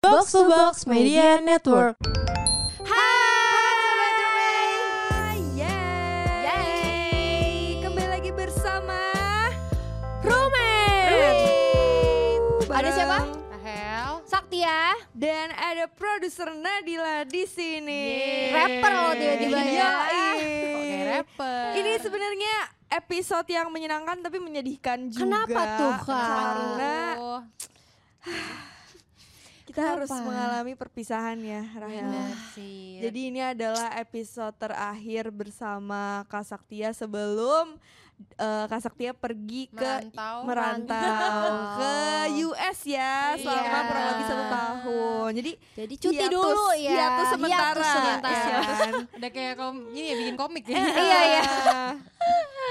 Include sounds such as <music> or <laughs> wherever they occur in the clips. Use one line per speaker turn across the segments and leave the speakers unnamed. Box to Box Media Network.
Hai Sobat
Yeay.
Yeay Kembali lagi bersama
Rumen.
Bareng
siapa?
Rahel.
Saktia.
Dan ada produser Nadila di sini
Yeay.
Rapper lo tiba-tiba
Yoi.
ya.
Kok kayak rapper?
Ini sebenarnya episode yang menyenangkan tapi menyedihkan juga
Kenapa tuh, Kak?
Karena
Aduh.
kita
Kenapa?
harus mengalami perpisahan ya Rahel
Bener sih.
Jadi ini adalah episode terakhir bersama Kak Saktia sebelum eh, Kak Saktia
<gasps>
pergi ke
merantau. kan. <laughs>
merantau ke US ya selama
Iya.
kurang lebih satu tahun. Jadi iya
Jadi cuti
hiatus-
dulu ya.
Hiatus sementara.
Hiatus sementara. <laughs>
Iya kan?
<laughs>
Eh,
Udah kayak kom ini ya bikin komik ya.
Iya, iya.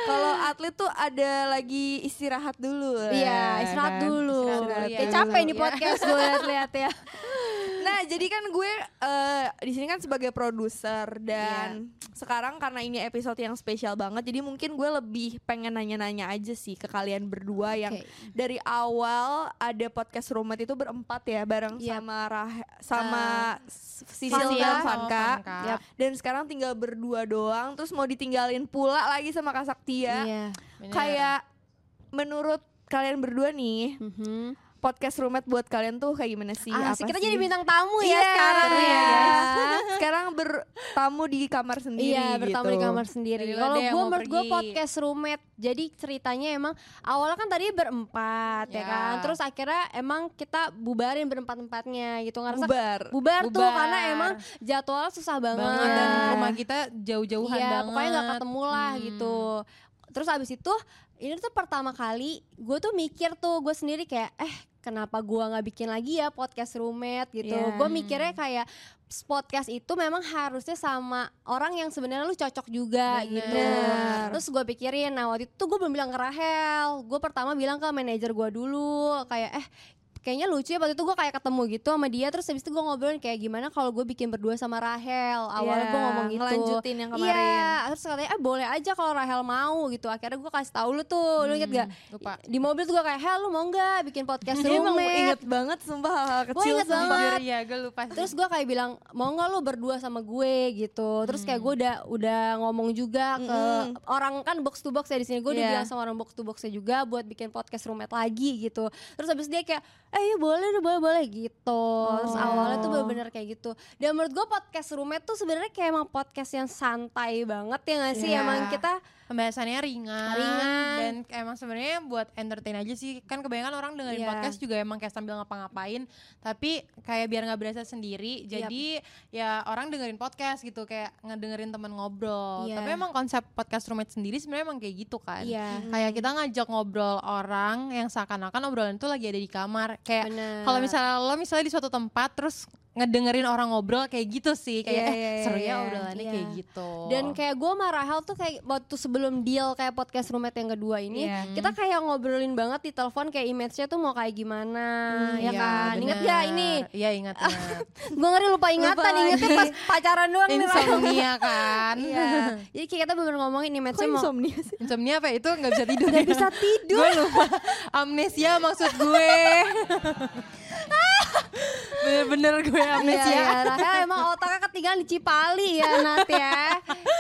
Kalau atlet tuh ada lagi istirahat dulu.
Iya,
kan?
istirahat dulu.
Istirahat dulu,
Kayak
iya.
capek nih
Iya.
podcast gue lihat-lihat ya.
Nah, jadi kan gue eh, di sini kan sebagai produser dan
Iya.
sekarang karena ini episode yang spesial banget, jadi mungkin gue lebih pengen nanya-nanya aja sih ke kalian berdua yang
Oke.
dari awal ada podcast rumet itu berempat ya bareng
Yap. Eh,
sama Rah sama S- Sisil
Sisil
dan
sama
Vanka.
Vanka.
Yap.
Dan sekarang tinggal berdua doang terus mau ditinggalin pula lagi sama Kak Saktia.
Iya.
Bener.
Kayak menurut kalian berdua nih,
Mhm.
podcast rumet buat kalian tuh kayak gimana sih?
Ah,
Apa
kita
sih?
jadi bintang tamu ya
Iya,
sekarang
seru
ya.
guys. <laughs> Sekarang bertamu di kamar sendiri
Iya bertamu
gitu.
di kamar sendiri.
Daripada
Kalau
yang
gue
mau
menurut gue
pergi.
podcast roommate. Jadi ceritanya emang awalnya kan tadi berempat ya
Ya.
kan. Terus akhirnya emang kita bubarin berempat-empatnya gitu. Ngerasa
Bubar.
bubar, tuh
Bubar.
karena emang jadwalnya susah banget.
banget
Iya.
dan rumah kita jauh-jauhan
Iya,
banget.
pokoknya nggak ketemu lah
Hmm.
gitu. Terus abis itu ini tuh pertama kali gue tuh mikir tuh gue sendiri kayak eh kenapa gue nggak bikin lagi ya podcast roommate gitu.
Iya.
Gue mikirnya kayak podcast itu memang harusnya sama orang yang sebenarnya lu cocok juga
Bener.
gitu. Terus gue pikirin, nah waktu itu gue belum bilang ke Rahel. Gue pertama bilang ke manajer gue dulu kayak eh kayaknya lucu ya waktu itu gue kayak ketemu gitu sama dia terus habis itu gue ngobrolin kayak gimana kalau gue bikin berdua sama Rahel awalnya gue
Iya,
ngomong gitu
Ngelanjutin yang kemarin.
Iya, terus katanya ah boleh aja kalau Rahel mau gitu. Akhirnya gue kasih tahu lu tuh, lu inget gak?
Hmm, Lupa.
Di mobil tuh gue kayak, Hel lu mau gak bikin podcast
Dia <laughs> emang
roommate?
inget banget sumpah hal-hal
Gue
kecil
Oh, inget
sumpah.
banget.
Jujur, Iya, gue lupa sih.
Terus gue kayak bilang, mau gak lu berdua sama gue gitu. Terus kayak gue udah udah ngomong juga ke
Mm-mm.
orang kan box to box ya di sini. Gue udah
Iya.
bilang sama orang box to boxnya juga buat bikin podcast roommate lagi gitu. Terus habis dia kayak, eh iya boleh, deh, boleh, boleh gitu. Terus
Oh.
awalnya tuh bener-bener kayak gitu. Dan menurut gue podcast roommate tuh sebenarnya kayak emang podcast yang santai banget ya gak sih?
Iya.
Emang kita
pembahasannya ringan,
Ringan.
dan emang sebenarnya buat entertain aja sih kan kebanyakan orang dengerin
Iya.
podcast juga emang kayak sambil ngapa-ngapain tapi kayak biar nggak berasa
Yap.
sendiri jadi ya orang dengerin podcast gitu kayak ngedengerin teman ngobrol
Iya.
tapi emang konsep podcast roommate sendiri sebenarnya emang kayak gitu kan
Iya.
kayak kita ngajak ngobrol orang yang seakan-akan obrolan itu lagi ada di kamar kayak
Bener.
kalau misalnya lo misalnya di suatu tempat terus ngedengerin orang ngobrol kayak gitu sih
Iya,
kayak eh,
iya,
seru
iya.
ya obrolannya
Iya.
kayak gitu
Dan kayak gue sama Rahel tuh kayak waktu sebelum deal kayak podcast roommate yang kedua ini
Iya.
Kita kayak ngobrolin banget di telepon kayak image-nya tuh mau kayak gimana ya
Iya,
kan Ingat
bener.
gak ini? Ah,
Iya ingat ingat.
Gue ngeri lupa ingatan,
lagi. <laughs>
ingetnya pas pacaran doang nih Rahel
Insomnia kan
Iya. Jadi kayak kita bener ngomongin
Kok
image-nya mau
insomnia sih?
Insomnia apa itu nggak bisa tidur
Gak bisa tidur
Gue lupa Amnesia maksud gue Bener-bener gue
Iya,
amnesia
iya, Rahel emang otaknya ketinggalan di Cipali ya Nat ya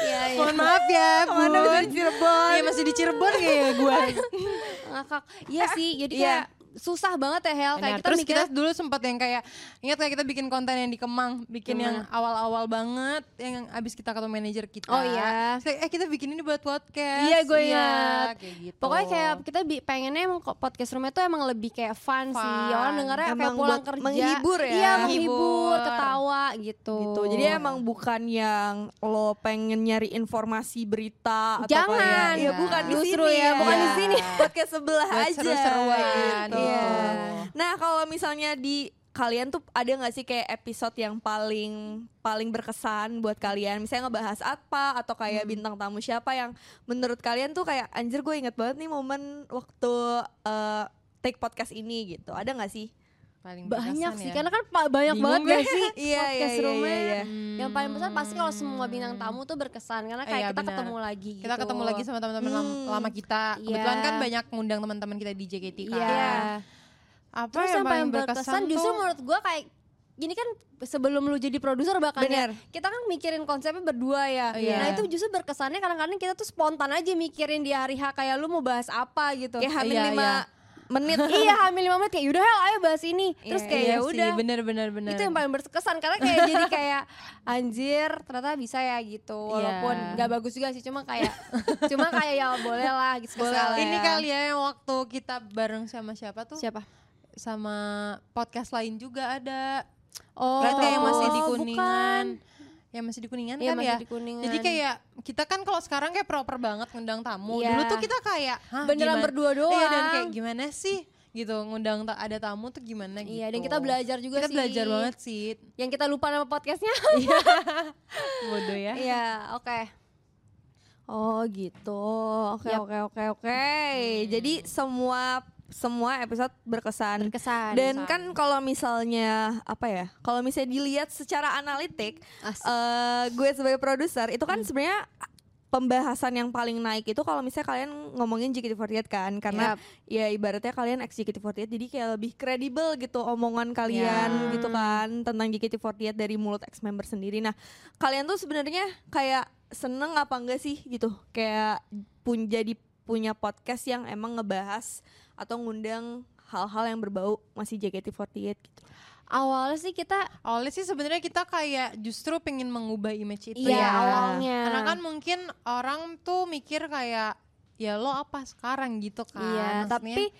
Iya, iya
Mohon maaf ya
Mana
bun
bisa di Cirebon?
Iya masih di Cirebon kayaknya gue
<laughs> Ngakak Iya sih, jadi
Iya.
kayak susah banget ya Hel Kayak
Nah,
kita
terus
mikirnya-
kita dulu sempat yang kayak ingat kayak kita bikin konten yang di Kemang, bikin yang awal-awal banget yang abis kita ketemu manajer kita.
Oh, iya.
Terus kayak, eh kita bikin ini buat podcast.
Iya, gue ingat.
kayak gitu.
Pokoknya kayak
Oh.
kita bi- pengennya emang kok podcast roomnya tuh emang lebih kayak fun, sih.
Fun.
Orang dengarnya kayak
Emang
pulang
buat
kerja.
menghibur ya.
Iya, menghibur,
Menghibur.
ketawa gitu.
Gitu. Jadi emang bukan yang lo pengen nyari informasi berita atau
Jangan.
kayak- Iya, bukan di
Justru
sini Iya.
ya, bukan
di sini.
<laughs> Podcast sebelah
Buat
aja.
seru-seruan,
gitu.
iya.
Nah, kalau misalnya di kalian tuh ada nggak sih kayak episode yang paling paling berkesan buat kalian? Misalnya ngebahas apa atau kayak bintang tamu siapa yang menurut kalian tuh kayak anjir gue inget banget nih momen waktu eh, take podcast ini gitu. Ada nggak sih?
Paling
banyak
berkesan
sih,
ya.
karena kan pa- banyak
Bingung
banget gak
gue.
sih
<laughs> Iya,
podcast
iya, iya,
roomnya.
iya, iya.
Hmm,
Yang paling besar pasti kalau semua bintang tamu tuh berkesan karena kayak
Iya,
kita
benar.
ketemu lagi gitu.
kita ketemu lagi sama teman-teman lam-
Hmm.
lama kita.
Iya.
Kebetulan kan banyak ngundang teman-teman kita di JKT kan.
Iya.
Apa
Terus
yang
yang paling berkesan, justru
tuh
menurut gue kayak gini kan sebelum lu jadi produser bahkan ya,
Bener.
kita kan mikirin konsepnya berdua ya.
Iya.
Nah itu justru berkesannya kadang-kadang kita tuh spontan aja mikirin di hari H kayak lu mau bahas apa gitu.
kayak hamil
Iya,
lima
iya.
menit
<laughs> iya hamil lima menit kayak yaudah Hel, ayo bahas ini. Terus
Iya,
kayak
Iya
ya
sih,
udah.
bener bener bener.
Itu yang paling berkesan karena kayak
<laughs>
jadi kayak anjir ternyata bisa ya gitu. Walaupun
Iya.
nggak bagus juga sih cuma
<laughs>
kayak cuma kayak ya boleh lah gitu. sekali-sekali
Ini
ya.
kali ya yang waktu kita bareng sama siapa tuh?
siapa?
Sama podcast lain juga ada.
Oh,
Mereka yang masih di
bukan.
Kuningan. Yang masih di Kuningan
Iya,
kan
masih
ya?
di Kuningan.
Jadi kayak kita kan kalau sekarang kayak proper banget ngundang tamu.
Iya.
Dulu tuh kita kayak "Hah,
Beneran
gimana?"
berdua
Iya dan
doang.
kayak gimana sih gitu ngundang ta- ada tamu tuh gimana gitu.
Iya, dan kita belajar juga
Kita
sih.
belajar banget Iya. sih.
Yang kita lupa nama podcastnya.
Bodoh ya.
<laughs> Iya, oke.
Oh gitu. Oke
Yap. Hmm.
oke oke oke. Jadi semua semua episode berkesan.
Berkesan.
Dan kan kalau misalnya apa ya? Kalau misalnya dilihat secara analitik,
Asik. Hmm.
eh gue sebagai produser itu kan sebenarnya pembahasan yang paling naik itu kalau misalnya kalian ngomongin JKT48 kan karena
Yap.
ya ibaratnya kalian ex JKT48 jadi kayak lebih kredibel gitu omongan kalian gitu kan tentang JKT48 dari mulut ex member sendiri. Nah, kalian tuh sebenarnya kayak seneng apa enggak sih gitu? Kayak pun jadi punya podcast yang emang ngebahas atau ngundang hal-hal yang berbau masih JKT48 gitu.
awalnya sih kita
Awalnya sih sebenarnya kita kayak justru pengen mengubah image itu
iya
ya.
awalnya.
Karena kan mungkin orang tuh mikir kayak ya lo apa sekarang gitu kan.
Iya,
Maksudnya, kan
tapi-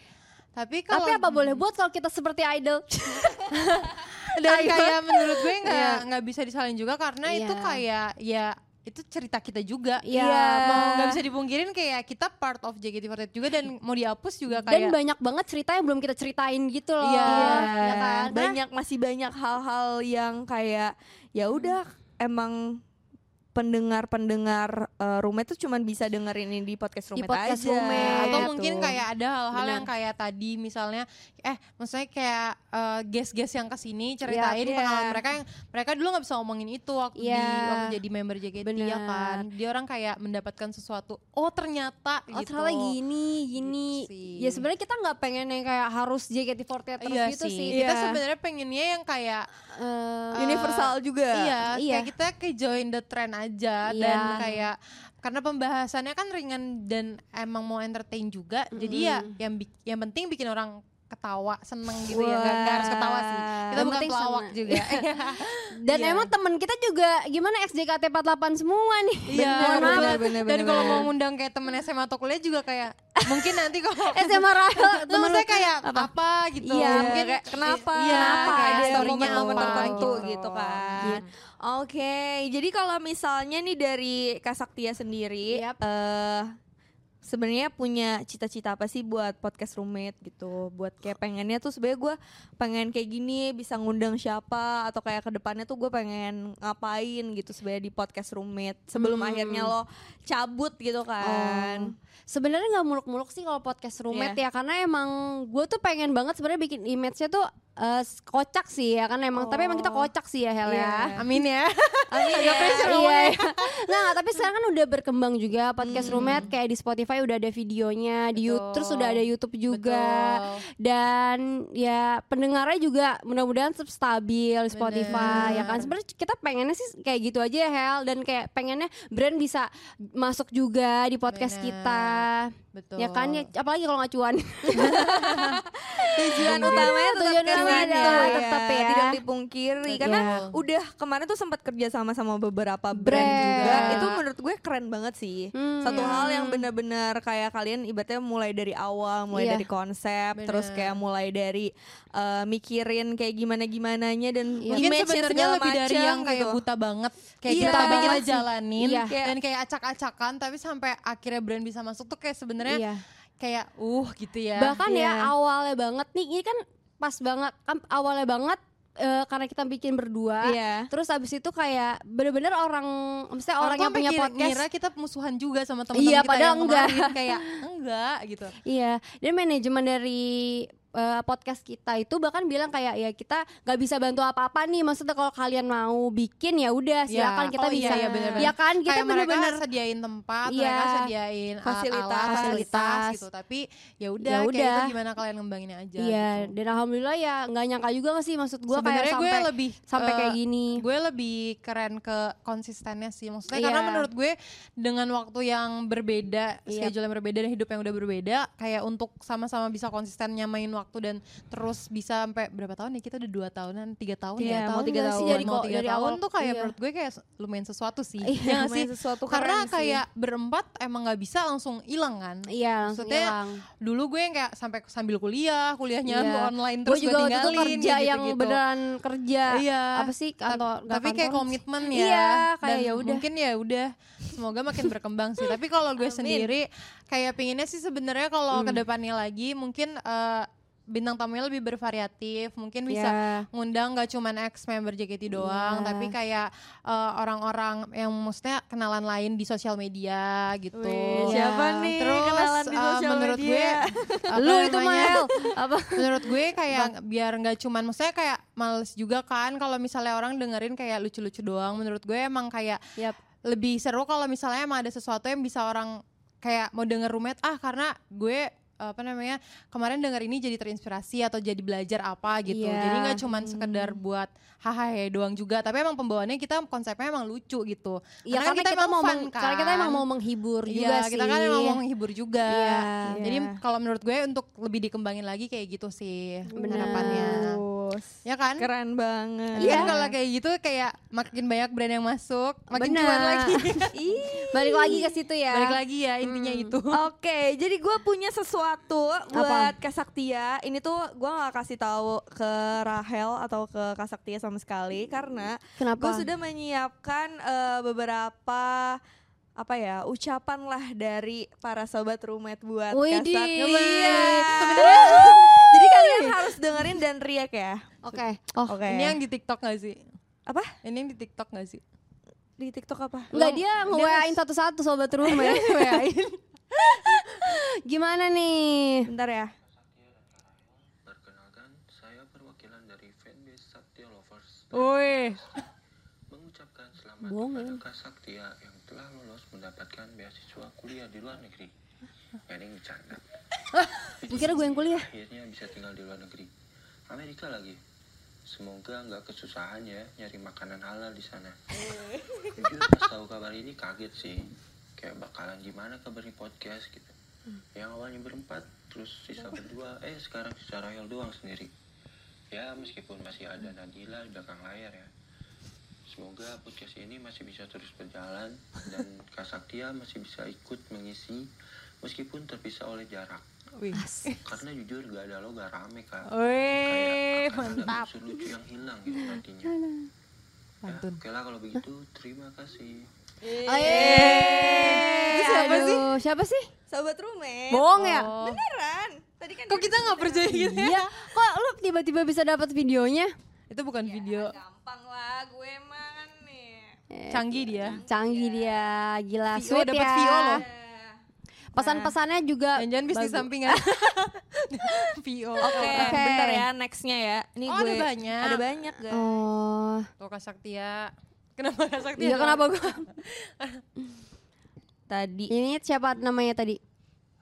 tapi kalau
tapi apa boleh buat kalau kita seperti
<laughs>
idol?
dan
Ayo.
kayak menurut gue
Iya.
nggak nggak bisa disalin juga karena itu
Iya.
kayak ya itu cerita kita juga.
Iya.
Mau nggak bisa dipungkirin kayak kita part of JKT48 juga dan mau dihapus juga
Dan
kayak
banyak banget cerita yang belum kita ceritain gitu loh.
Iya.
ya kan? Karena
Banyak masih banyak hal-hal yang kayak ya udah emang pendengar-pendengar eh, roommate tuh cuman bisa dengerin ini di podcast
Di
roommate
podcast
aja.
roommate.
atau
gitu.
mungkin kayak ada hal-hal
Benar.
yang kayak tadi misalnya eh maksudnya kayak eh, guest-guest yang kesini ceritain
Iya.
pengalaman mereka yang mereka dulu nggak bisa ngomongin itu waktu
Iya.
di waktu jadi member JKT ya
Benar.
kan dia orang kayak mendapatkan sesuatu oh ternyata
Oh
gitu
ternyata gini, gini.
Gitu sih.
ya sebenarnya kita nggak pengen yang kayak harus JKT48 terus
iya
gitu
sih,
sih.
kita
Iya.
sebenarnya pengennya yang kayak
Eh,
universal juga.
iya,
Iya.
kayak kita ke join the trend
Iya.
aja dan kayak karena pembahasannya kan ringan dan emang mau entertain juga jadi ya yang bik- yang penting bikin orang ketawa seneng gitu ya nggak nggak harus ketawa sih kita
Yang
bukan
penting
pelawak
seneng.
juga
dan
Iya.
emang temen kita juga gimana XJKT48 semua nih.
<laughs>
<laughs>
Bener,
Iya, bener,
bener, bener,
dan
bener,
kalau
bener.
mau ngundang kayak temen SMA atau kuliah juga kayak mungkin nanti kalau
SMA Rahel,
temen
Eh, temen
saya kayak apa, gitu
Iya,
mungkin
kayak kenapa?
iya
Kenapa?
kayak
Ada
story-nya
momen-momen
apa
tertentu gitu,
gitu
kan.
Gitu.
Oke, jadi kalau misalnya nih dari Kak Saktia sendiri eh
Yap.
sebenarnya punya cita-cita apa sih buat podcast roommate gitu? Buat kayak pengennya tuh sebenarnya gue pengen kayak gini bisa ngundang siapa atau kayak kedepannya tuh gue pengen ngapain gitu sebenarnya di podcast roommate sebelum
Hmm.
akhirnya lo cabut gitu kan?
Sebenarnya nggak muluk-muluk sih kalau podcast roommate ya karena emang gue tuh pengen banget sebenarnya bikin image-nya tuh eh, kocak sih ya kan emang tapi emang kita
Oh.
kocak sih ya Iya, Hel <laughs>
Iya.
ya.
amin ya
Agak pressure away. <laughs> Nah, tapi sekarang kan udah berkembang juga podcast roommate kayak di Spotify udah ada videonya, di YouTube
Betul.
terus udah ada YouTube juga.
Betul.
Dan ya pendengarnya juga mudah-mudahan tetap stabil di Spotify ya kan. Sebenarnya kita pengennya sih kayak gitu aja ya Hel dan kayak pengennya brand bisa masuk juga di podcast
Bener.
kita.
betul
Ya kan ya, apalagi kalau nggak cuan.
tujuan utamanya tetap
Tujuan
kesana,
utamanya
ya,
tetap ya.
tidak dipungkiri
Betul.
karena udah kemarin tuh sempat kerja sama sama beberapa brand,
Brand.
juga itu menurut gue keren banget sih
Hmm.
satu hal yang benar-benar kayak kalian ibaratnya mulai dari awal mulai
Iya.
dari konsep
Bener.
terus kayak mulai dari eh, mikirin kayak gimana gimananya dan
Iya.
mungkin
image-nya
sebenarnya
segala
lebih dari
macam
yang kayak
gitu.
buta banget kayak
Iya.
kita
Buta
pengen
banget sih.
jalanin
Iya.
dan kayak acak-acakan tapi sampai akhirnya brand bisa masuk tuh kayak sebenarnya
Iya.
kayak uh gitu ya
Bahkan
Iya.
ya awalnya banget nih, ini kan pas banget kan awalnya banget eh, karena kita bikin berdua.
Iya.
Terus abis itu kayak bener-bener orang, misalnya orang, yang
tuh
punya
kira-
podcast.
ngira kita musuhan juga sama teman-teman
Iya,
kita
padahal
yang
enggak.
kemarin kayak enggak gitu
Iya, dan manajemen dari eh, podcast kita itu bahkan bilang kayak ya kita nggak bisa bantu apa-apa nih maksudnya kalau kalian mau bikin ya udah silakan
Ya.
kita
Oh, iya,
bisa
iya, benar-benar.
ya kan kita
kayak mereka
bener-bener
sediain tempat,
Iya.
mereka sediain alat-
Fasilitas.
alat, fasilitas
Fasilitas.
gitu. Tapi ya udah,
Ya
kayak
udah.
itu gimana kalian ngembanginnya aja.
Iya,
gitu.
dan alhamdulillah ya nggak nyangka juga nggak sih maksud gue kayak
Sebenarnya gue
sampai
lebih
sampai
eh,
kayak gini.
Gue lebih keren ke konsistennya sih maksudnya
Iya.
karena menurut gue dengan waktu yang berbeda,
Iya.
schedule yang berbeda dan hidup yang udah berbeda kayak untuk sama-sama bisa konsisten nyamain waktu dan terus bisa sampai berapa tahun ya kita udah dua tahunan, tiga tahun
Iya,
ya
mau tiga
nggak sih?
tahun.
Jadi
Mau
kok
tiga
dari
tahun.
awal tuh kayak
Iya.
menurut gue kayak lumayan sesuatu sih.
Iya,
ya nggak sih?
sesuatu
Karena
keren sih.
kayak berempat emang nggak bisa langsung hilang kan.
Iya, langsung
maksudnya
hilang.
Dulu gue yang kayak sampai sambil kuliah, kuliahnya
Iya.
online
Gue
terus
juga
gue
waktu itu
tinggalin
kerja
kayak
yang
gitu-gitu.
beneran kerja.
Iya.
Apa sih kantor? nggak
tapi kayak
kantor.
komitmen ya
Iya,
Dan
kayak ya udah.
mungkin ya udah semoga makin berkembang sih tapi kalau gue
Amin.
sendiri kayak pinginnya sih sebenarnya kalau
Hmm.
kedepannya lagi mungkin eh, bintang tamunya lebih bervariatif mungkin bisa
Iya.
ngundang gak cuman ex member JKT
Iya.
doang tapi kayak eh, orang-orang yang maksudnya kenalan lain di sosial media gitu
Wih,
Iya.
siapa nih
Terus,
kenalan di
eh,
sosial
menurut
media?
gue, apa
Lu itu
<laughs>
Mel.
namanya?
Iya, Apa?
menurut gue kayak biar nggak cuman maksudnya kayak males juga kan kalau misalnya orang dengerin kayak lucu-lucu doang menurut gue emang kayak
Yap.
lebih seru kalau misalnya emang ada sesuatu yang bisa orang kayak mau denger roommate ah karena gue apa namanya kemarin denger ini jadi terinspirasi atau jadi belajar apa gitu
Iya.
jadi nggak cuman sekedar buat hahaha doang juga tapi emang pembawaannya kita konsepnya emang lucu gitu
Iya,
Karena
karena
kita
kita,
emang
mau
fun,
meng- karena kita
kan?
emang mau menghibur juga
Iya
sih.
kita kan emang mau menghibur juga
Iya.
jadi
Iya.
kalau menurut gue untuk lebih dikembangin lagi kayak gitu sih
Benar.
harapannya
Terus.
ya kan
Keren banget.
Tapi
Iya.
kan kalau kayak gitu kayak makin banyak brand yang masuk, makin
Benar.
cuan lagi.
Ih.
Balik lagi ke situ ya.
Balik lagi ya intinya itu.
Hmm,
<laughs>
Oke, jadi gue punya sesuatu buat Kasaktia. Ini tuh gue nggak kasih tahu ke Rahel atau ke Kasaktia sama sekali karena
Kenapa?
gue sudah menyiapkan eh, beberapa apa ya ucapan lah dari para sobat roommate buat
Widih.
Kasaktia.
Iya,
Sebenarnya-
<laughs>
<laughs>
Jadi kalian harus dengerin dan riak ya.
Oke. Oh.
Oke.
Ini yang di TikTok gak sih?
apa?
Ini yang di TikTok gak sih?
Di TikTok apa?
Enggak
Lo-
dia
dia
nge-WA-in satu-satu sobat rumah. ya, <laughs> Gimana nih?
Bentar ya.
Perkenalkan, saya perwakilan dari fanbase Saktia Lovers
Woi.
mengucapkan selamat kepada Kak Saktia yang telah lulus mendapatkan beasiswa kuliah di luar negeri. Ya, Ini bercanda.
Gue <laughs> kira gue yang kuliah.
Akhirnya bisa tinggal di luar negeri. Amerika lagi. Semoga nggak kesusahan ya nyari makanan halal di sana.
Eh.
Jujur pas tahu kabar ini kaget sih. Kayak bakalan gimana kabar di podcast gitu.
Hmm.
Yang awalnya berempat, terus sisa berdua, eh sekarang sisa Rahel doang sendiri. Ya meskipun masih ada Nadila di belakang layar ya. Semoga podcast ini masih bisa terus berjalan
<laughs>
dan Kak Saktia masih bisa ikut mengisi meskipun terpisah oleh jarak.
Wih.
Karena jujur gak ada lo gak rame kak Kayak
Wih.
akan ada unsur lucu yang hilang gitu nantinya Ya,
Pantun.
Oke lah kalau begitu terima kasih
Oh, iya. Itu siapa
Aduh,
sih?
Siapa sih?
Sobat roommate.
Bohong ya?
Oh.
Beneran. Tadi kan
Kok kita gak percaya gitu ya?
Iya. Kok lu tiba-tiba bisa dapat videonya?
Itu bukan
Iya.
video
gampang lah gue mah kan nih.
canggih
Iya.
dia.
Canggih dia, gila.
VO,
Sweet
dapat
ya.
VO loh.
Eh,
Pesan-pesannya juga
Jangan-jangan bisnis
bagus. <laughs>
sampingan. Vio.
Oke,
Oke.
bentar ya nextnya ya. Ini
Oh,
gue
ada banyak.
Ada banyak guys.
Oh.
Tuh Kak Saktia. Kenapa Kak Saktia?
Iya kenapa gua?
Tadi
Ini siapa namanya tadi?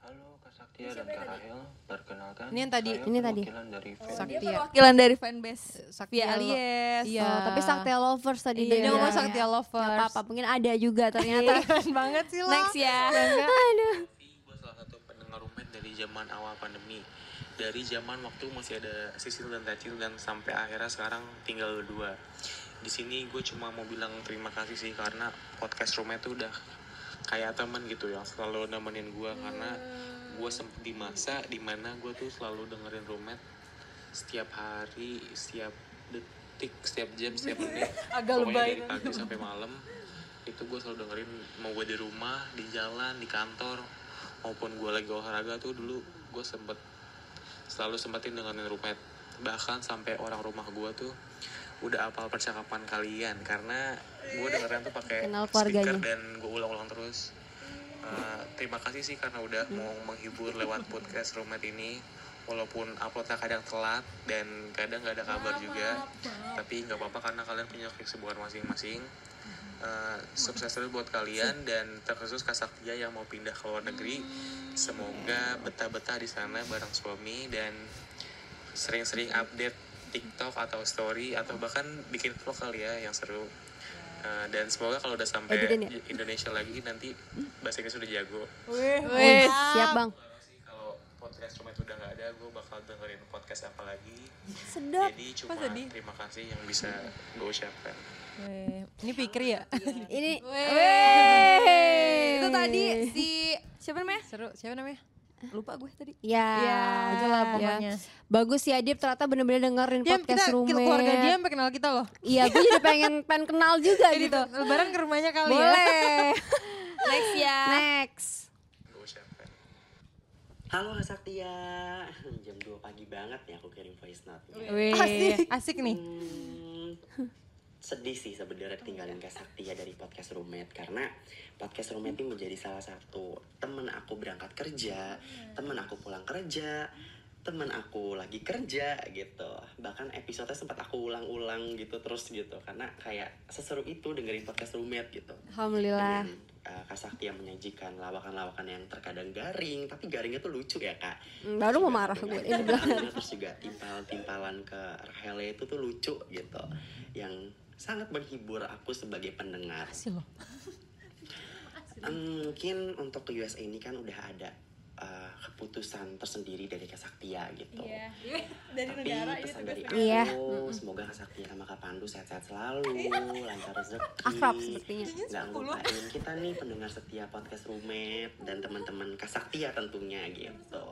Halo Kak Saktia dan Kak Rahel perkenalkan
Ini yang tadi,
saya
ini tadi.
perwakilan dari fan
Saktia.
Perwakilan dari fanbase
Saktia
via
lo-
Alias.
Iya.
Oh, tapi Saktia Lovers Iya. tadi
Tadi dia
Iya, dia
ngomong
bilangnya.
Saktia
Nggak
Lovers.
apa-apa, mungkin ada juga ternyata.
Keren banget sih lo.
Next ya.
gue salah satu pendengar rumen dari zaman awal pandemi dari zaman waktu masih ada Sisil dan Tacil dan sampai akhirnya sekarang tinggal berdua di sini gue cuma mau bilang terima kasih sih karena podcast rumen tuh udah kayak temen gitu yang selalu nemenin gue karena gue sempet di masa dimana gue tuh selalu dengerin rumen setiap hari setiap detik setiap jam setiap menit
<laughs> Agak
Pokoknya
lebay.
dari pagi sampai malam itu gue selalu dengerin mau gue di rumah di jalan di kantor maupun gue lagi olahraga tuh dulu gue sempet selalu sempetin dengerin roommate bahkan sampai orang rumah gue tuh udah apal percakapan kalian karena gue dengerin tuh pakai
Kenal
speaker
keluarganya.
dan gue ulang-ulang terus Eh,
Hmm.
Uh, terima kasih sih karena udah mau menghibur lewat podcast roommate ini walaupun uploadnya kadang telat dan kadang nggak ada kabar juga tapi nggak apa-apa karena kalian punya kesibukan masing-masing Eh, sukses terus buat kalian dan terkhusus Kak Saktia yang mau pindah ke luar negeri semoga betah-betah di sana bareng suami dan sering-sering update TikTok atau story atau bahkan bikin vlog kali ya yang seru Eh, dan semoga kalau udah sampai
Editin ya?
Indonesia lagi nanti bahasa Inggris udah jago
Wih, siap bang.
Kalau sih kalau podcast cuma itu udah nggak ada gue bakal dengerin podcast apa lagi
Sedap.
jadi cuma terima kasih yang bisa gue ucapkan
Weh, Ini pikir ya.
Ini
gitu. Weh. Itu tadi si siapa namanya?
Seru. Siapa namanya?
Lupa gue tadi.
Ya,
Ya, itulah
ya.
pokoknya.
Bagus ya Adib ternyata bener-bener dengerin
Dia kita,
podcast
kita
rumah.
keluarga dia sampai kenal kita loh.
Iya, gue jadi pengen pengen kenal juga gitu.
Lebaran ke rumahnya kali ya.
Boleh.
Next ya.
Next.
gue ucapkan
Halo Kak Saktia, <laughs> jam 2 pagi banget nih aku kirim voice note-nya.
Asik. Asik nih.
Hmm, sedih sih sebenarnya tinggalin Kak Saktia dari podcast roommate karena podcast roommate ini menjadi salah satu temen aku berangkat kerja, temen aku pulang kerja, temen aku lagi kerja gitu. Bahkan episode sempat aku ulang-ulang gitu terus gitu karena kayak seseru itu dengerin podcast roommate gitu
Alhamdulillah.
dengan uh, Kak Sakti yang menyajikan lawakan-lawakan yang terkadang garing tapi garingnya tuh lucu ya kak
Hmm, Baru mau marah gue.
Dengan
Ini bilang.
garingnya, terus juga timpal-timpalan ke Rahel itu tuh lucu gitu yang sangat menghibur aku sebagai pendengar
Asik loh.
Em, mungkin untuk ke USA ini kan udah ada uh, keputusan tersendiri dari Kak Saktia gitu
<laughs> Dari gitu.
tapi pesan dari aku
Iya.
semoga Kak Sakti sama Kak Pandu sehat-sehat selalu lancar rezeki
Akrab sepertinya.
nggak ngelupain kita nih pendengar setia podcast roommate dan teman-teman Kak Sakti ya tentunya gitu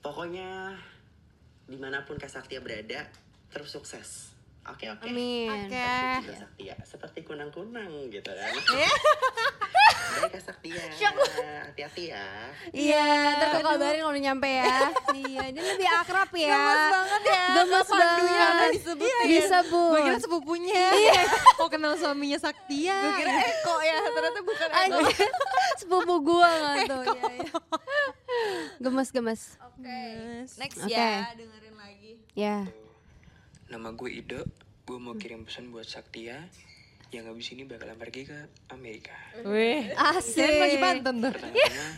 pokoknya dimanapun Kak Sakti berada terus sukses oke oke
Amin. Ya.
Oke.
Terpuji Kak Saktia seperti kunang-kunang gitu
<laughs>
kan Baik Kak Saktia hati-hati ya
Iya, ntar gue kabarin kalau udah nyampe
<laughs>
ya. iya, dia lebih akrab ya.
Gemes banget ya.
Gemes
sama Pandunya
banget.
karena disebut.
Iya,
Iya.
disebut.
Gue kira sepupunya. Kok kenal suaminya Saktia?
Gue kira Eko ya, ternyata bukan Eko.
Anjir, <laughs> sepupu gua nggak
Eh, Gitu,
<laughs> tuh. Iya, iya. Gemes gemes.
Oke. Next
Oke.
ya, dengerin lagi.
Ya.
Nama gue Ido, gue mau kirim pesan buat Saktia yang habis ini bakalan pergi ke Amerika.
Weh.
Asik.
Kirain lagi Banten tuh.
Pertama-tama,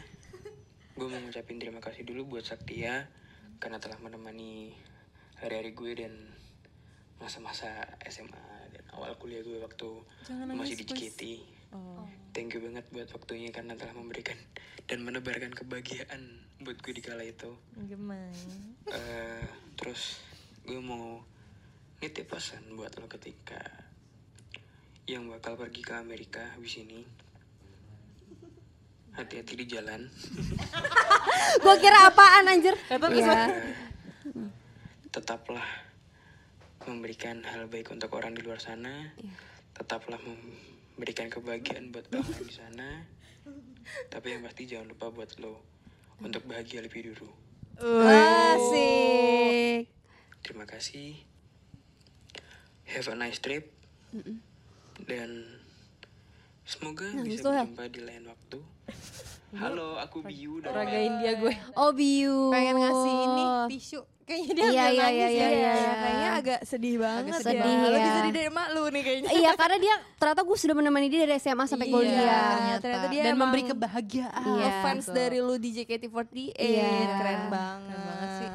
gue mau ngucapin terima kasih dulu buat Saktia karena telah menemani hari-hari gue dan masa-masa SMA dan awal kuliah gue waktu masih di JKT. Thank you banget buat waktunya karena telah memberikan dan menebarkan kebahagiaan buat gue di kala itu.
Gemes.
Eh, terus gue mau nitip pesan buat lo ketika yang bakal pergi ke Amerika habis ini hati-hati di jalan
Gue kira apaan anjir? Iya.
Eh, tetaplah memberikan hal baik untuk orang di luar sana
Iya.
tetaplah memberikan kebahagiaan buat orang di sana tapi yang pasti jangan lupa buat lo untuk bahagia lebih dulu
Asik.
Terima kasih. Have a nice trip. Dan semoga
Nangis
bisa
lo, Hel.
berjumpa di lain waktu. Halo, aku Biu dari
Raga India gue.
Obiu.
Pengen ngasih ini tisu. Kayaknya dia
Iya,
agak
iya,
nangis
iya,
ya.
iya.
Ya, kayaknya agak sedih banget
sedih ya.
Lebih sedih dari emak lu nih kayaknya. <laughs>
Iya, karena dia ternyata gue sudah menemani dia dari SMA sampai
Iya,
ya.
kuliah.
ternyata. dia
dan
emang-
memberi kebahagiaan.
Iya.
fans dari lu di JKT48
Iya.
keren banget.
Keren banget sih.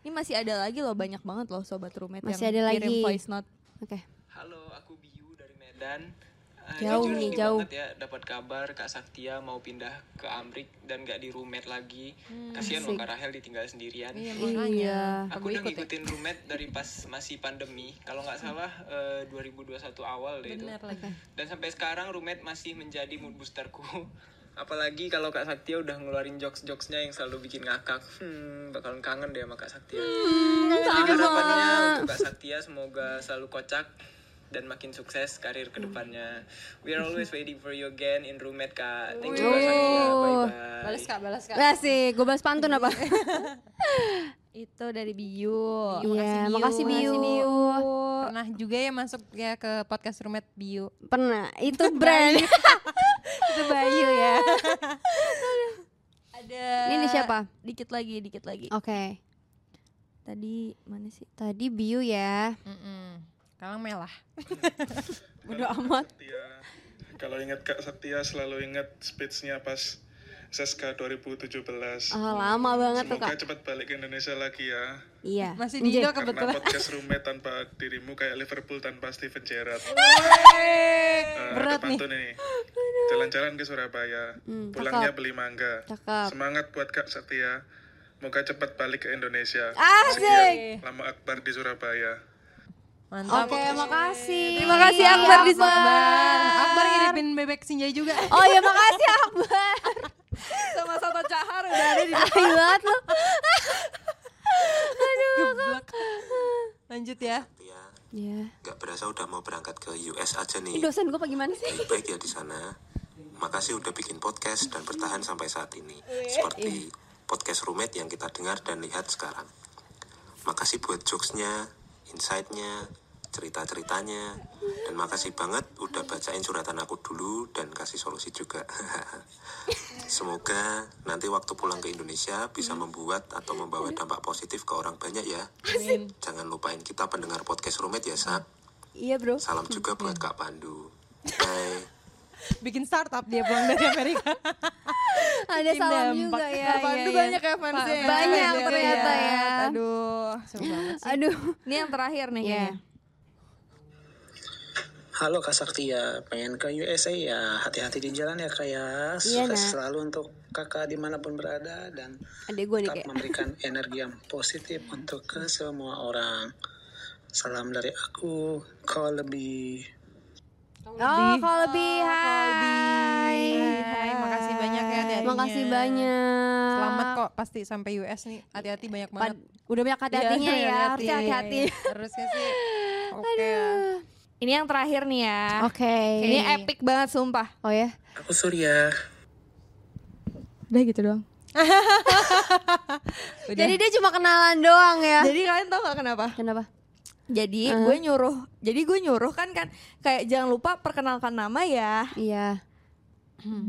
Ini masih ada lagi loh banyak banget loh sobat roommate
Masih
yang
ada
kirim
lagi.
voice note.
Oke.
Halo, aku Biu dari Medan. Eh,
Jauh
jujur
nih,
sedih
jauh.
banget ya dapat kabar Kak Saktia mau pindah ke Amrik dan gak di roommate lagi. Kasihan loh
Hmm, asik.
Kak Rahel ditinggal sendirian.
Iya.
Aku udah
ya?
ngikutin roommate dari pas masih pandemi. Kalau nggak salah eh, 2021 awal deh itu.
Hmm. Bener lagi.
Dan sampai sekarang roommate masih menjadi mood boosterku. <laughs> Apalagi kalau Kak Saktia udah ngeluarin jokes-jokesnya yang selalu bikin ngakak. Hmm, bakalan kangen deh sama Kak
Hmm,
Saktia. Jadi harapannya untuk Kak Saktia semoga selalu kocak dan makin sukses karir
Hmm.
kedepannya. We are always waiting for you again in roommate Kak. Thank you Kak Saktia. Bye-bye.
Balas kak, balas kak.
Asik, gue balas pantun apa?
Itu dari Biu.
Iya, makasih Biu.
Pernah juga ya masuk ya ke podcast Rumet Bio.
Pernah, <laughs> itu brand.
Itu Bayu ya.
Ada
Ini siapa? Oh.
Dikit lagi, dikit lagi.
Oke,
Tadi mana sih?
tadi Biu ya.
Mm-mm. Kalang melah.
Bodo amat.
Saktia. Kalau ingat Kak Saktia selalu ingat speech-nya pas SESKA 2017.
Ah, lama banget tuh
Semoga
kak.
cepat balik ke Indonesia lagi ya.
Iya.
Masih di Indo
Karena
kebetulan.
podcast roommate tanpa dirimu kayak Liverpool tanpa Steven Gerrard. Eh,
Berat
ada pantun ini. Jalan-jalan ke Surabaya,
Hmm,
pulangnya
cakep.
beli mangga.
Cakep.
Semangat buat Kak Saktia. Moga cepat balik ke Indonesia.
Asik.
Lama Akbar di Surabaya.
Mantap.
Oke, makasih. Iya,
Terima kasih Akbar di sana.
Iya, Akbar ya. ngiripin bebek sinjai juga.
Oh ya makasih Akbar.
Sama Soto Cahar udah ada di
Tai banget lu.
Geblek. Lanjut ya.
Saktia,
Iya.
nggak berasa udah mau berangkat ke US aja
Ini
nih.
dosen gue apa gimana sih?
Baik-baik ya di sana. Makasih udah bikin podcast dan bertahan sampai saat ini. Seperti podcast roommate yang kita dengar dan lihat sekarang. Makasih buat jokesnya, insight-nya, cerita-ceritanya. Dan makasih banget udah bacain suratan aku dulu dan kasih solusi juga. <laughs> Semoga nanti waktu pulang ke Indonesia bisa membuat atau membawa dampak positif ke orang banyak ya. Jangan lupain kita pendengar podcast roommate ya, Sak.
Iya bro.
Salam juga buat Kak Pandu. Bye.
Bikin startup dia pulang dari Amerika.
Ada
Bikin
salam
dampak.
juga ya.
Pandu
iya, iya.
banyak ya fansnya. ya.
Banyak ternyata ya.
Iya, Aduh.
Seru banget.
Aduh.
Ini yang terakhir nih
Iya.
kayaknya.
Halo Kak Saktia, pengen ke USA ya, hati-hati di jalan ya Kak ya.
Iya,
Sukses
Nak. Iya.
selalu untuk kakak dimanapun berada dan
Adek gue nih
tetap
kayak.
memberikan energi yang positif untuk ke semua orang. Salam dari aku, kau lebih.
Oh kalau lebih.
Oh,
Hai.
Hai, makasih banyak ya adik-adiknya.
Makasih banyak.
Selamat kok pasti sampai US nih. Hati-hati banyak banget.
Pad- udah banyak hati-hatinya
Iya,
ya. Harusnya hati-hati.
Harusnya sih. Oke. ya.
Ini yang terakhir nih ya.
Oke.
Ini epic banget sumpah.
Oh ya.
Aku Surya.
Udah gitu doang.
Udah.
Jadi dia cuma kenalan doang ya.
Ah. Jadi kalian tau gak kenapa?
Kenapa?
Jadi
Ah.
gue nyuruh, jadi gue nyuruh kan kan kayak jangan lupa perkenalkan nama ya
Iya.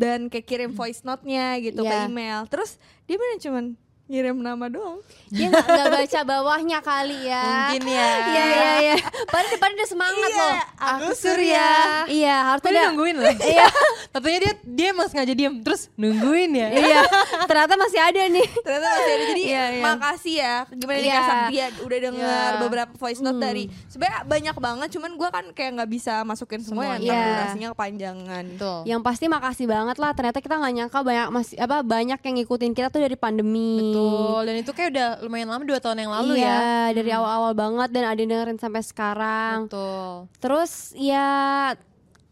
dan kayak kirim voice note-nya
Hmm.
gitu
Iya.
ke email. Terus dia bener cuman ngirim nama doang.
Dia nggak nggak baca bawahnya kali ya.
Mungkin ya. Iya.
Iya iya iya. Padahal depannya udah semangat loh.
Aku Surya.
Iya, harus
Tadi
ada.
nungguin loh. Iya. <laughs> Tentunya dia dia emang sengaja diem terus nungguin ya.
Iya, ternyata masih ada nih.
Ternyata masih ada. Jadi
Iya, iya.
makasih ya. Gimana nih
Iya.
Kak Saktia udah denger
Iya. Hmm.
beberapa voice note dari sebenarnya banyak banget cuman gue kan kayak nggak bisa masukin semua, ya
Semua.
ntar
Iya.
durasinya kepanjangan.
Betul.
Yang pasti makasih banget lah. Ternyata kita nggak nyangka banyak masih apa banyak yang ngikutin kita tuh dari pandemi.
Betul. Dan itu kayak udah lumayan lama dua tahun yang lalu
iya,
ya.
dari awal-awal banget dan ada yang dengerin sampai sekarang.
Betul.
Terus ya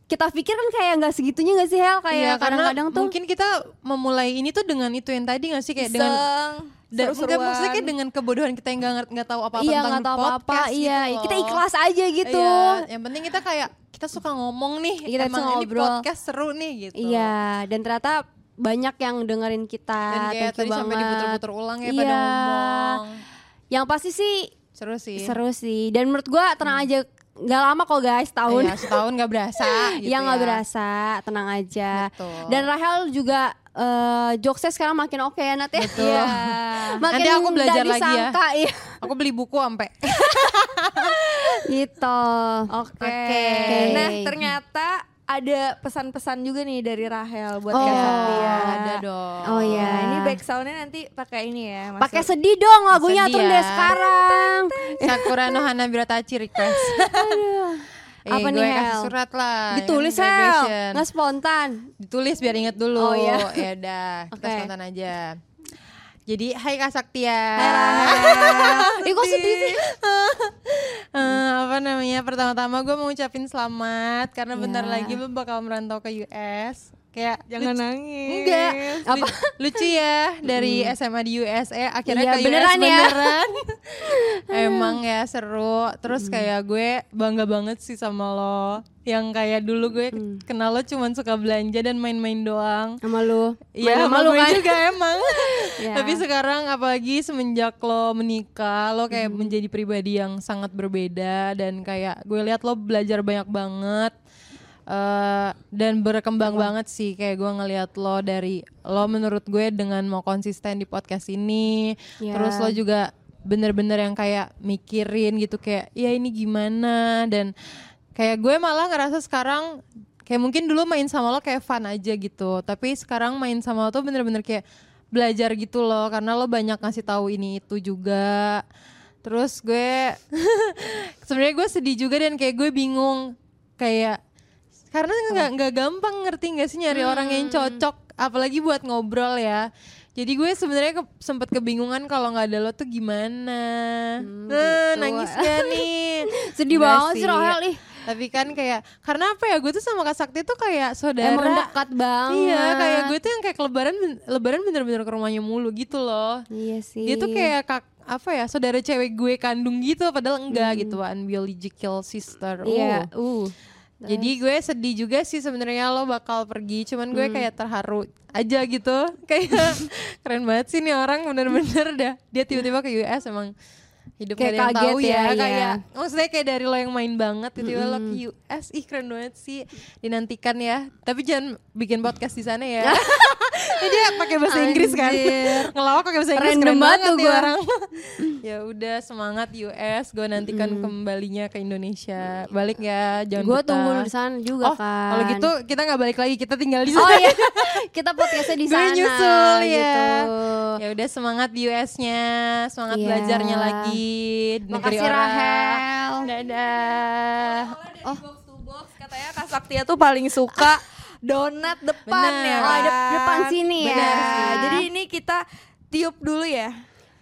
kita pikir kan kayak nggak segitunya nggak sih Hel
Iya,
kayak
karena
kadang-kadang tuh
mungkin kita memulai ini tuh dengan itu yang tadi gak sih kayak dengan
Iseng,
dan
seru-seruan.
enggak maksudnya
kan
kayak dengan kebodohan kita yang nggak ngerti nggak tahu apa-apa
iya
tentang
nggak tahu
podcast
apa-apa
gitu
iya
loh.
kita ikhlas aja gitu Iya,
Iya, yang penting kita kayak kita suka ngomong nih
Kita
emang
suka
ini
ngobrol.
podcast seru nih gitu
iya dan ternyata banyak yang dengerin kita
dan kayak
Thank you
tadi sampai
banget.
diputer-puter ulang ya pada
Iya.
ngomong
yang pasti sih
seru sih Iya,
seru sih dan menurut gua tenang aja nggak lama kok guys tahun <laughs>
Hmm. Iya, setahun nggak berasa gitu
yang nggak
ya.
berasa tenang aja
Betul.
dan Rahel juga eh jokesnya sekarang makin oke ya Nat ya
Betul.
Iya. makin
Nanti aku belajar
nggak
lagi ya.
disangka, iya.
aku beli buku sampai
gitu oke
Nah ternyata ada pesan-pesan juga nih dari Rahel buat
Oh.
Kak Saktia.
Iya, ada dong
oh ya
Nah, ini back soundnya nanti pakai ini ya. masuk.
pakai sedih dong lagunya
Sedih
tuh
ya. Ah,
deh sekarang
Sakura no Hana Biratachi
<laughs>
request Eh,
Apa
gue
nih,
kasih
Hel?
surat lah ya kan,
ditulis Hel
graduation.
nggak
<laughs>
spontan
ditulis biar inget
Oh,
dulu.
iya.
<laughs> Ya udah, kita
Oke.
spontan aja. Jadi, hai Kak Saktia.
Ih, kok sedih sih?
Eh, apa namanya? Pertama-tama gue mau ngucapin selamat karena bentar lagi lo bakal merantau ke US. Kayak
Jangan
lucu-
nangis.
Enggak. Apa? Lucu ya dari SMA di USA
Iya,
akhirnya ke
beneran
US
ya.
beneran. Emang ya seru. Terus kayak gue bangga banget sih sama lo. Yang kayak dulu gue kenal lo cuman suka belanja dan main-main doang.
sama lu Main
Iya, sama
lu
gue
kan?
juga emang.
Iya.
Tapi sekarang apalagi semenjak lo menikah, lo kayak menjadi pribadi yang sangat berbeda dan kayak gue lihat lo belajar banyak banget. eh, dan berkembang banget sih kayak gue ngelihat lo dari lo menurut gue dengan mau konsisten di podcast ini
Ya.
terus lo juga bener-bener yang kayak mikirin gitu kayak ya ini gimana dan kayak gue malah ngerasa sekarang kayak mungkin dulu main sama lo kayak fun aja gitu tapi sekarang main sama lo tuh bener-bener kayak belajar gitu loh karena lo banyak ngasih tahu ini itu juga terus gue <laughs> sebenarnya gue sedih juga dan kayak gue bingung kayak karena nggak nggak gampang ngerti nggak sih nyari orang
Hmm.
yang cocok apalagi buat ngobrol ya jadi gue sebenarnya ke, sempet kebingungan kalau nggak ada lo tuh gimana Eh,
gitu.
nangis gak nih
<laughs> Sedih
Nggak
banget sih, Rahel, ih.
tapi kan kayak karena apa ya gue tuh sama Kak Sakti tuh kayak saudara
Emang dekat banget.
Iya, kayak gue tuh yang kayak ke lebaran ben- lebaran bener-bener ke rumahnya mulu gitu loh.
Iya sih.
Dia tuh kayak kak apa ya saudara cewek gue kandung gitu padahal enggak gitu unbiological sister.
Hmm. Iya,
Uh. Jadi gue sedih juga sih sebenarnya lo bakal pergi, cuman
Hmm.
gue kayak terharu aja gitu. <laughs> Kayak keren banget sih nih orang bener-bener dah. Dia tiba-tiba ke US emang hidup
Kayak
gak ada yang
kaget
tahu ya,
ya, iya.
kayak maksudnya kayak dari lo yang main banget gitu tiba lo ke US ih keren banget sih dinantikan ya tapi jangan bikin podcast di sana
<laughs>
ya Eh, dia pakai bahasa Inggris kan
Anjir.
ngelawak pakai bahasa Inggris
Random
keren
banget
banget
tuh
tuh
gua. <laughs>
orang ya udah semangat US gue nantikan kembalinya ke Indonesia balik ya jangan
Gue
betah.
tunggu di sana juga
oh
kan.
kalau gitu kita nggak balik lagi kita tinggal di sana
Oh
<laughs>
iya, kita podcastnya di
Gue
sana.
nyusul, ya.
Gitu.
ya udah semangat di US-nya semangat
Iya.
belajarnya lagi di negeri
Makasih
orang.
Rahel.
dadah
Soalnya dari
oh.
box to box katanya Kak Saktia tuh paling suka <laughs> donat depan
Bener.
ya.
Oh,
Kak?
de- depan sini ya.
Bener sih. Jadi ini kita tiup dulu ya.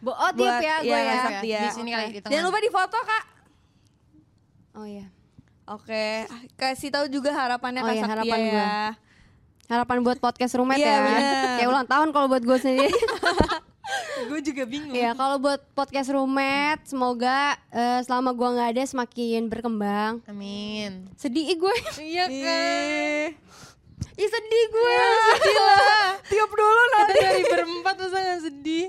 Bo oh, tiup
Buat- iya,
ya
iya,
gue
Kak
ya.
Saktia.
Di sini kali, di tengah.
Jangan lupa di foto Kak.
Oh iya.
Oke, kasih tahu juga harapannya
Oh
Kak
iya,
Saktia
harapan
ya.
gua. Harapan buat podcast rumet
Iya,
ya.
bener.
Kayak ulang tahun kalau buat gue sendiri.
gue juga bingung
ya kalau buat podcast rumet semoga eh, selama gue nggak ada semakin berkembang.
amin
Sedih ih, gue. <laughs>
iya kan
Ih sedih gue.
sedih lah
Tiup dulu
kita
nanti.
dari berempat masa nggak sedih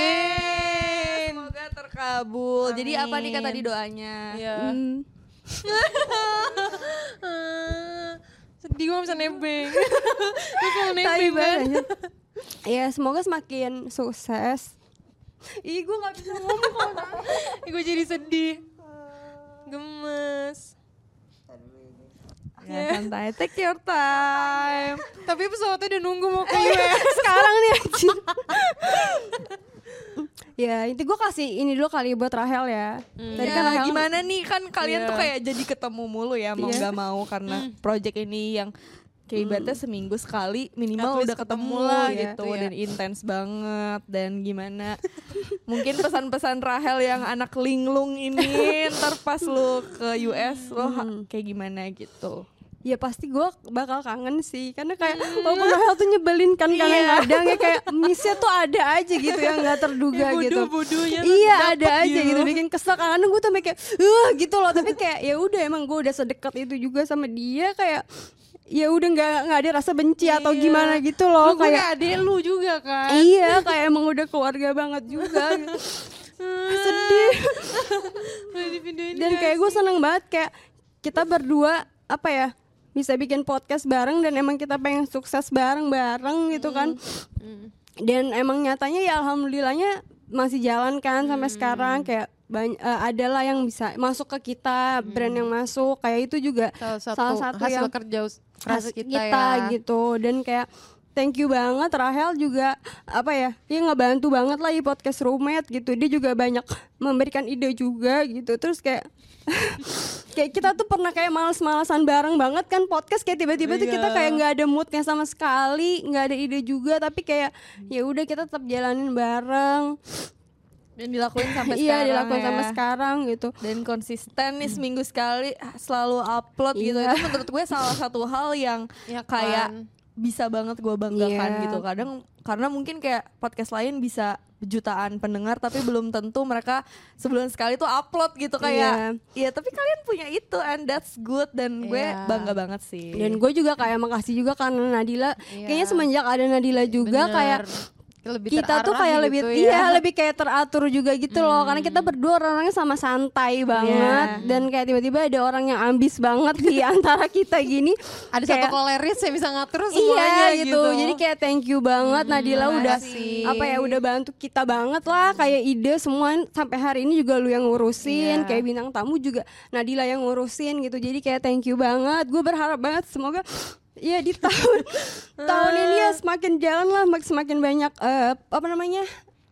Yeay, Semoga terkabul. Jadi apa nih kata
Amin.
tadi doanya?
Iya. <laughs>
Hmm.
Ah, sedih gue bisa nebeng <laughs> gue kalau nebeng kan
banget.
Iya,
Ya semoga semakin sukses.
ih gue nggak bisa ngomong gue jadi sedih gemes
Ya, santai. Take your time.
tapi pesawatnya udah nunggu mau ke
<laughs>
US
sekarang nih anjing. ya inti gue kasih ini dulu kali buat Rahel ya.
Iya.
Tadi kan
Ya,
Rahel
gimana nih kan kalian tuh kayak jadi ketemu mulu ya mau
Iya.
nggak mau karena project ini yang kayak ibaratnya seminggu sekali minimal
At least
udah ketemu
ketemu
lah
ya,
gitu
gitu ya.
dan intens banget dan gimana mungkin pesan-pesan Rahel yang anak linglung ini ntar pas lu ke US lo ha- kayak gimana gitu
ya pasti gue bakal kangen sih karena kayak
Hmm.
walaupun Rahel tuh nyebelin kan
Iya.
kadang-kadang ya kayak missnya tuh ada aja gitu yang nggak terduga
Kayak
gitu.
bodoh-bodohnya tuh
Iya
dapet
ada aja
gitu.
gitu bikin kesel karena gue tuh sampe kayak uh gitu loh tapi kayak ya udah emang gue udah sedekat itu juga sama dia kayak ya udah nggak nggak ada rasa benci atau
Iya.
gimana gitu loh
lu kayak
kayak
adek lu juga kan
iya kayak emang udah keluarga banget juga
<laughs>
gitu. sedih
Boleh dipindahin
dan
nggak
kayak gue
sih?
seneng banget kayak kita berdua apa ya bisa bikin podcast bareng dan emang kita pengen sukses bareng-bareng gitu kan
Hmm.
dan emang nyatanya ya alhamdulillahnya masih jalan kan sampai
Hmm.
sekarang kayak banyak eh, adalah yang bisa masuk ke kita brand yang masuk kayak itu juga
Hmm. salah satu,
salah satu
hasil
yang
kerja us- keras
khas
kita, ya
gitu dan kayak thank you banget Rahel juga apa ya dia ngebantu banget lah di podcast roommate gitu dia juga banyak memberikan ide juga gitu terus kayak <laughs> kayak kita tuh pernah kayak males-malesan bareng banget kan podcast kayak tiba-tiba tuh
Iya.
kita kayak nggak ada moodnya sama sekali nggak ada ide juga tapi kayak ya udah kita tetap jalanin bareng
dan dilakuin sampai
iya
sekarang
dilakukan sama
ya.
sekarang gitu
dan konsisten nih seminggu sekali ah, selalu upload gitu
Hmm. Iya.
itu menurut gue salah satu hal yang
Ya kan.
kayak bisa banget gue banggakan
Iya.
gitu kadang karena mungkin kayak podcast lain bisa jutaan pendengar tapi belum tentu mereka sebulan sekali tuh upload gitu kayak Iya tapi kalian punya itu and that's good dan gue
Iya.
bangga banget sih
kan Dan gue juga kayak makasih juga karena Nadila. Kayaknya semenjak ada Nadila juga
Iya. Bener.
kayak
kita lebih
kita tuh
terarah
kayak
gitu
lebih
ya. Hmm.
iya lebih kayak teratur juga gitu loh karena kita berdua orang-orangnya sama santai banget
Iya.
dan kayak tiba-tiba ada orang yang ambis banget di <laughs> antara kita gini
<laughs> ada satu
kayak-
koleris yang bisa ngatur semuanya
Iya gitu. Hmm, Jadi kayak thank you banget Nadila udah
makasih.
apa ya udah bantu kita banget lah kayak ide semua sampai hari ini juga lu yang ngurusin
Iya.
kayak bintang tamu juga Nadila yang ngurusin gitu. Jadi kayak thank you banget. Gue berharap banget semoga ya di <laughs> tahun tahun ini ya semakin jalan lah mak- semakin banyak eh, apa namanya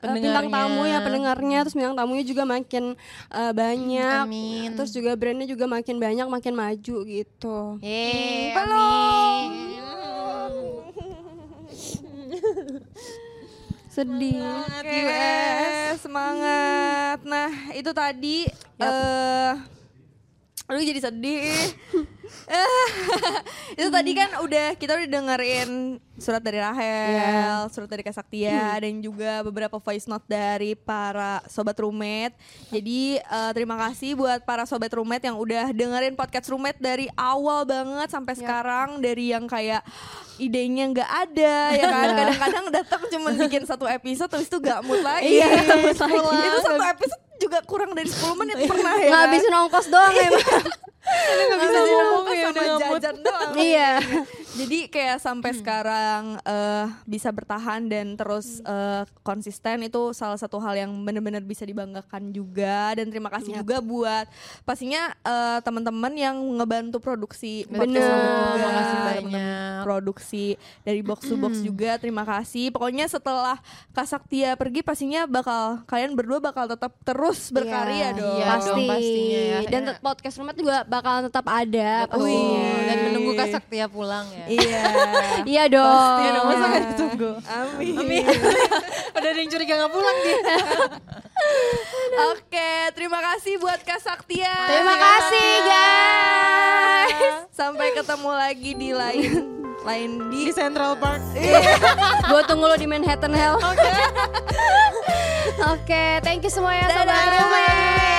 eh, bintang tamu
Pendengarnya.
ya pendengarnya terus bintang tamunya juga makin eh, banyak
Amin.
terus juga brandnya juga makin banyak makin maju gitu
Yeay,
Hmm, belum.
Iya, amin.
sedih
Semangat US, eh, semangat. Nah, itu tadi eh aduh jadi sedih. <laughs> Eh, itu tadi kan udah kita udah dengerin surat dari
Iya.
Rahel, surat dari
Hmm.
Kasaktia dan juga beberapa voice note dari para sobat roommate. Jadi eh, terima kasih buat para sobat roommate yang udah dengerin podcast roommate dari awal banget
Iya.
sampai sekarang dari yang kayak idenya nggak ada ya
Iya.
kan kadang-kadang datang cuma bikin satu episode terus itu gak mood lagi.
Iya, nggak mood lagi. Iya.
Pulang. Itu satu episode juga kurang dari 10 menit pernah ya. kan?
ngabisin ongkos doang ya, <laughs> emang
Nggak bisa ngomong
ya,
kan sama
udah nggak mood.
jajan doang.
iya
Jadi kayak sampai sekarang eh, bisa bertahan dan terus eh, konsisten itu salah satu hal yang benar-benar bisa dibanggakan juga dan terima kasih juga buat pastinya eh, teman-teman yang ngebantu produksi podcast
Bener,
ini juga.
terima kasih
Teman-teman produksi dari box to box juga terima kasih pokoknya setelah Kasaktia pergi pastinya bakal kalian berdua bakal tetap terus berkarya
Iya,
dong
Iya
pasti
dong, pastinya ya.
dan te- podcast rumah juga bakalan tetap ada
Betul.
pastinya
Dan menunggu Kak Saktia pulang ya.
iya
iya dong
Iya dong, masa nggak ditunggu?
amin.
Udah ada yang curiga nggak kan? pulang dia.
Oke, terima kasih buat Kak Saktia.
Iya,
Terima kasih, guys.
Sampai ketemu lagi di lain lain
Di
di
Central Park.
gue tunggu lo di Manhattan Hell <laughs> oke thank you semuanya sobat
Dadah.
Rumet.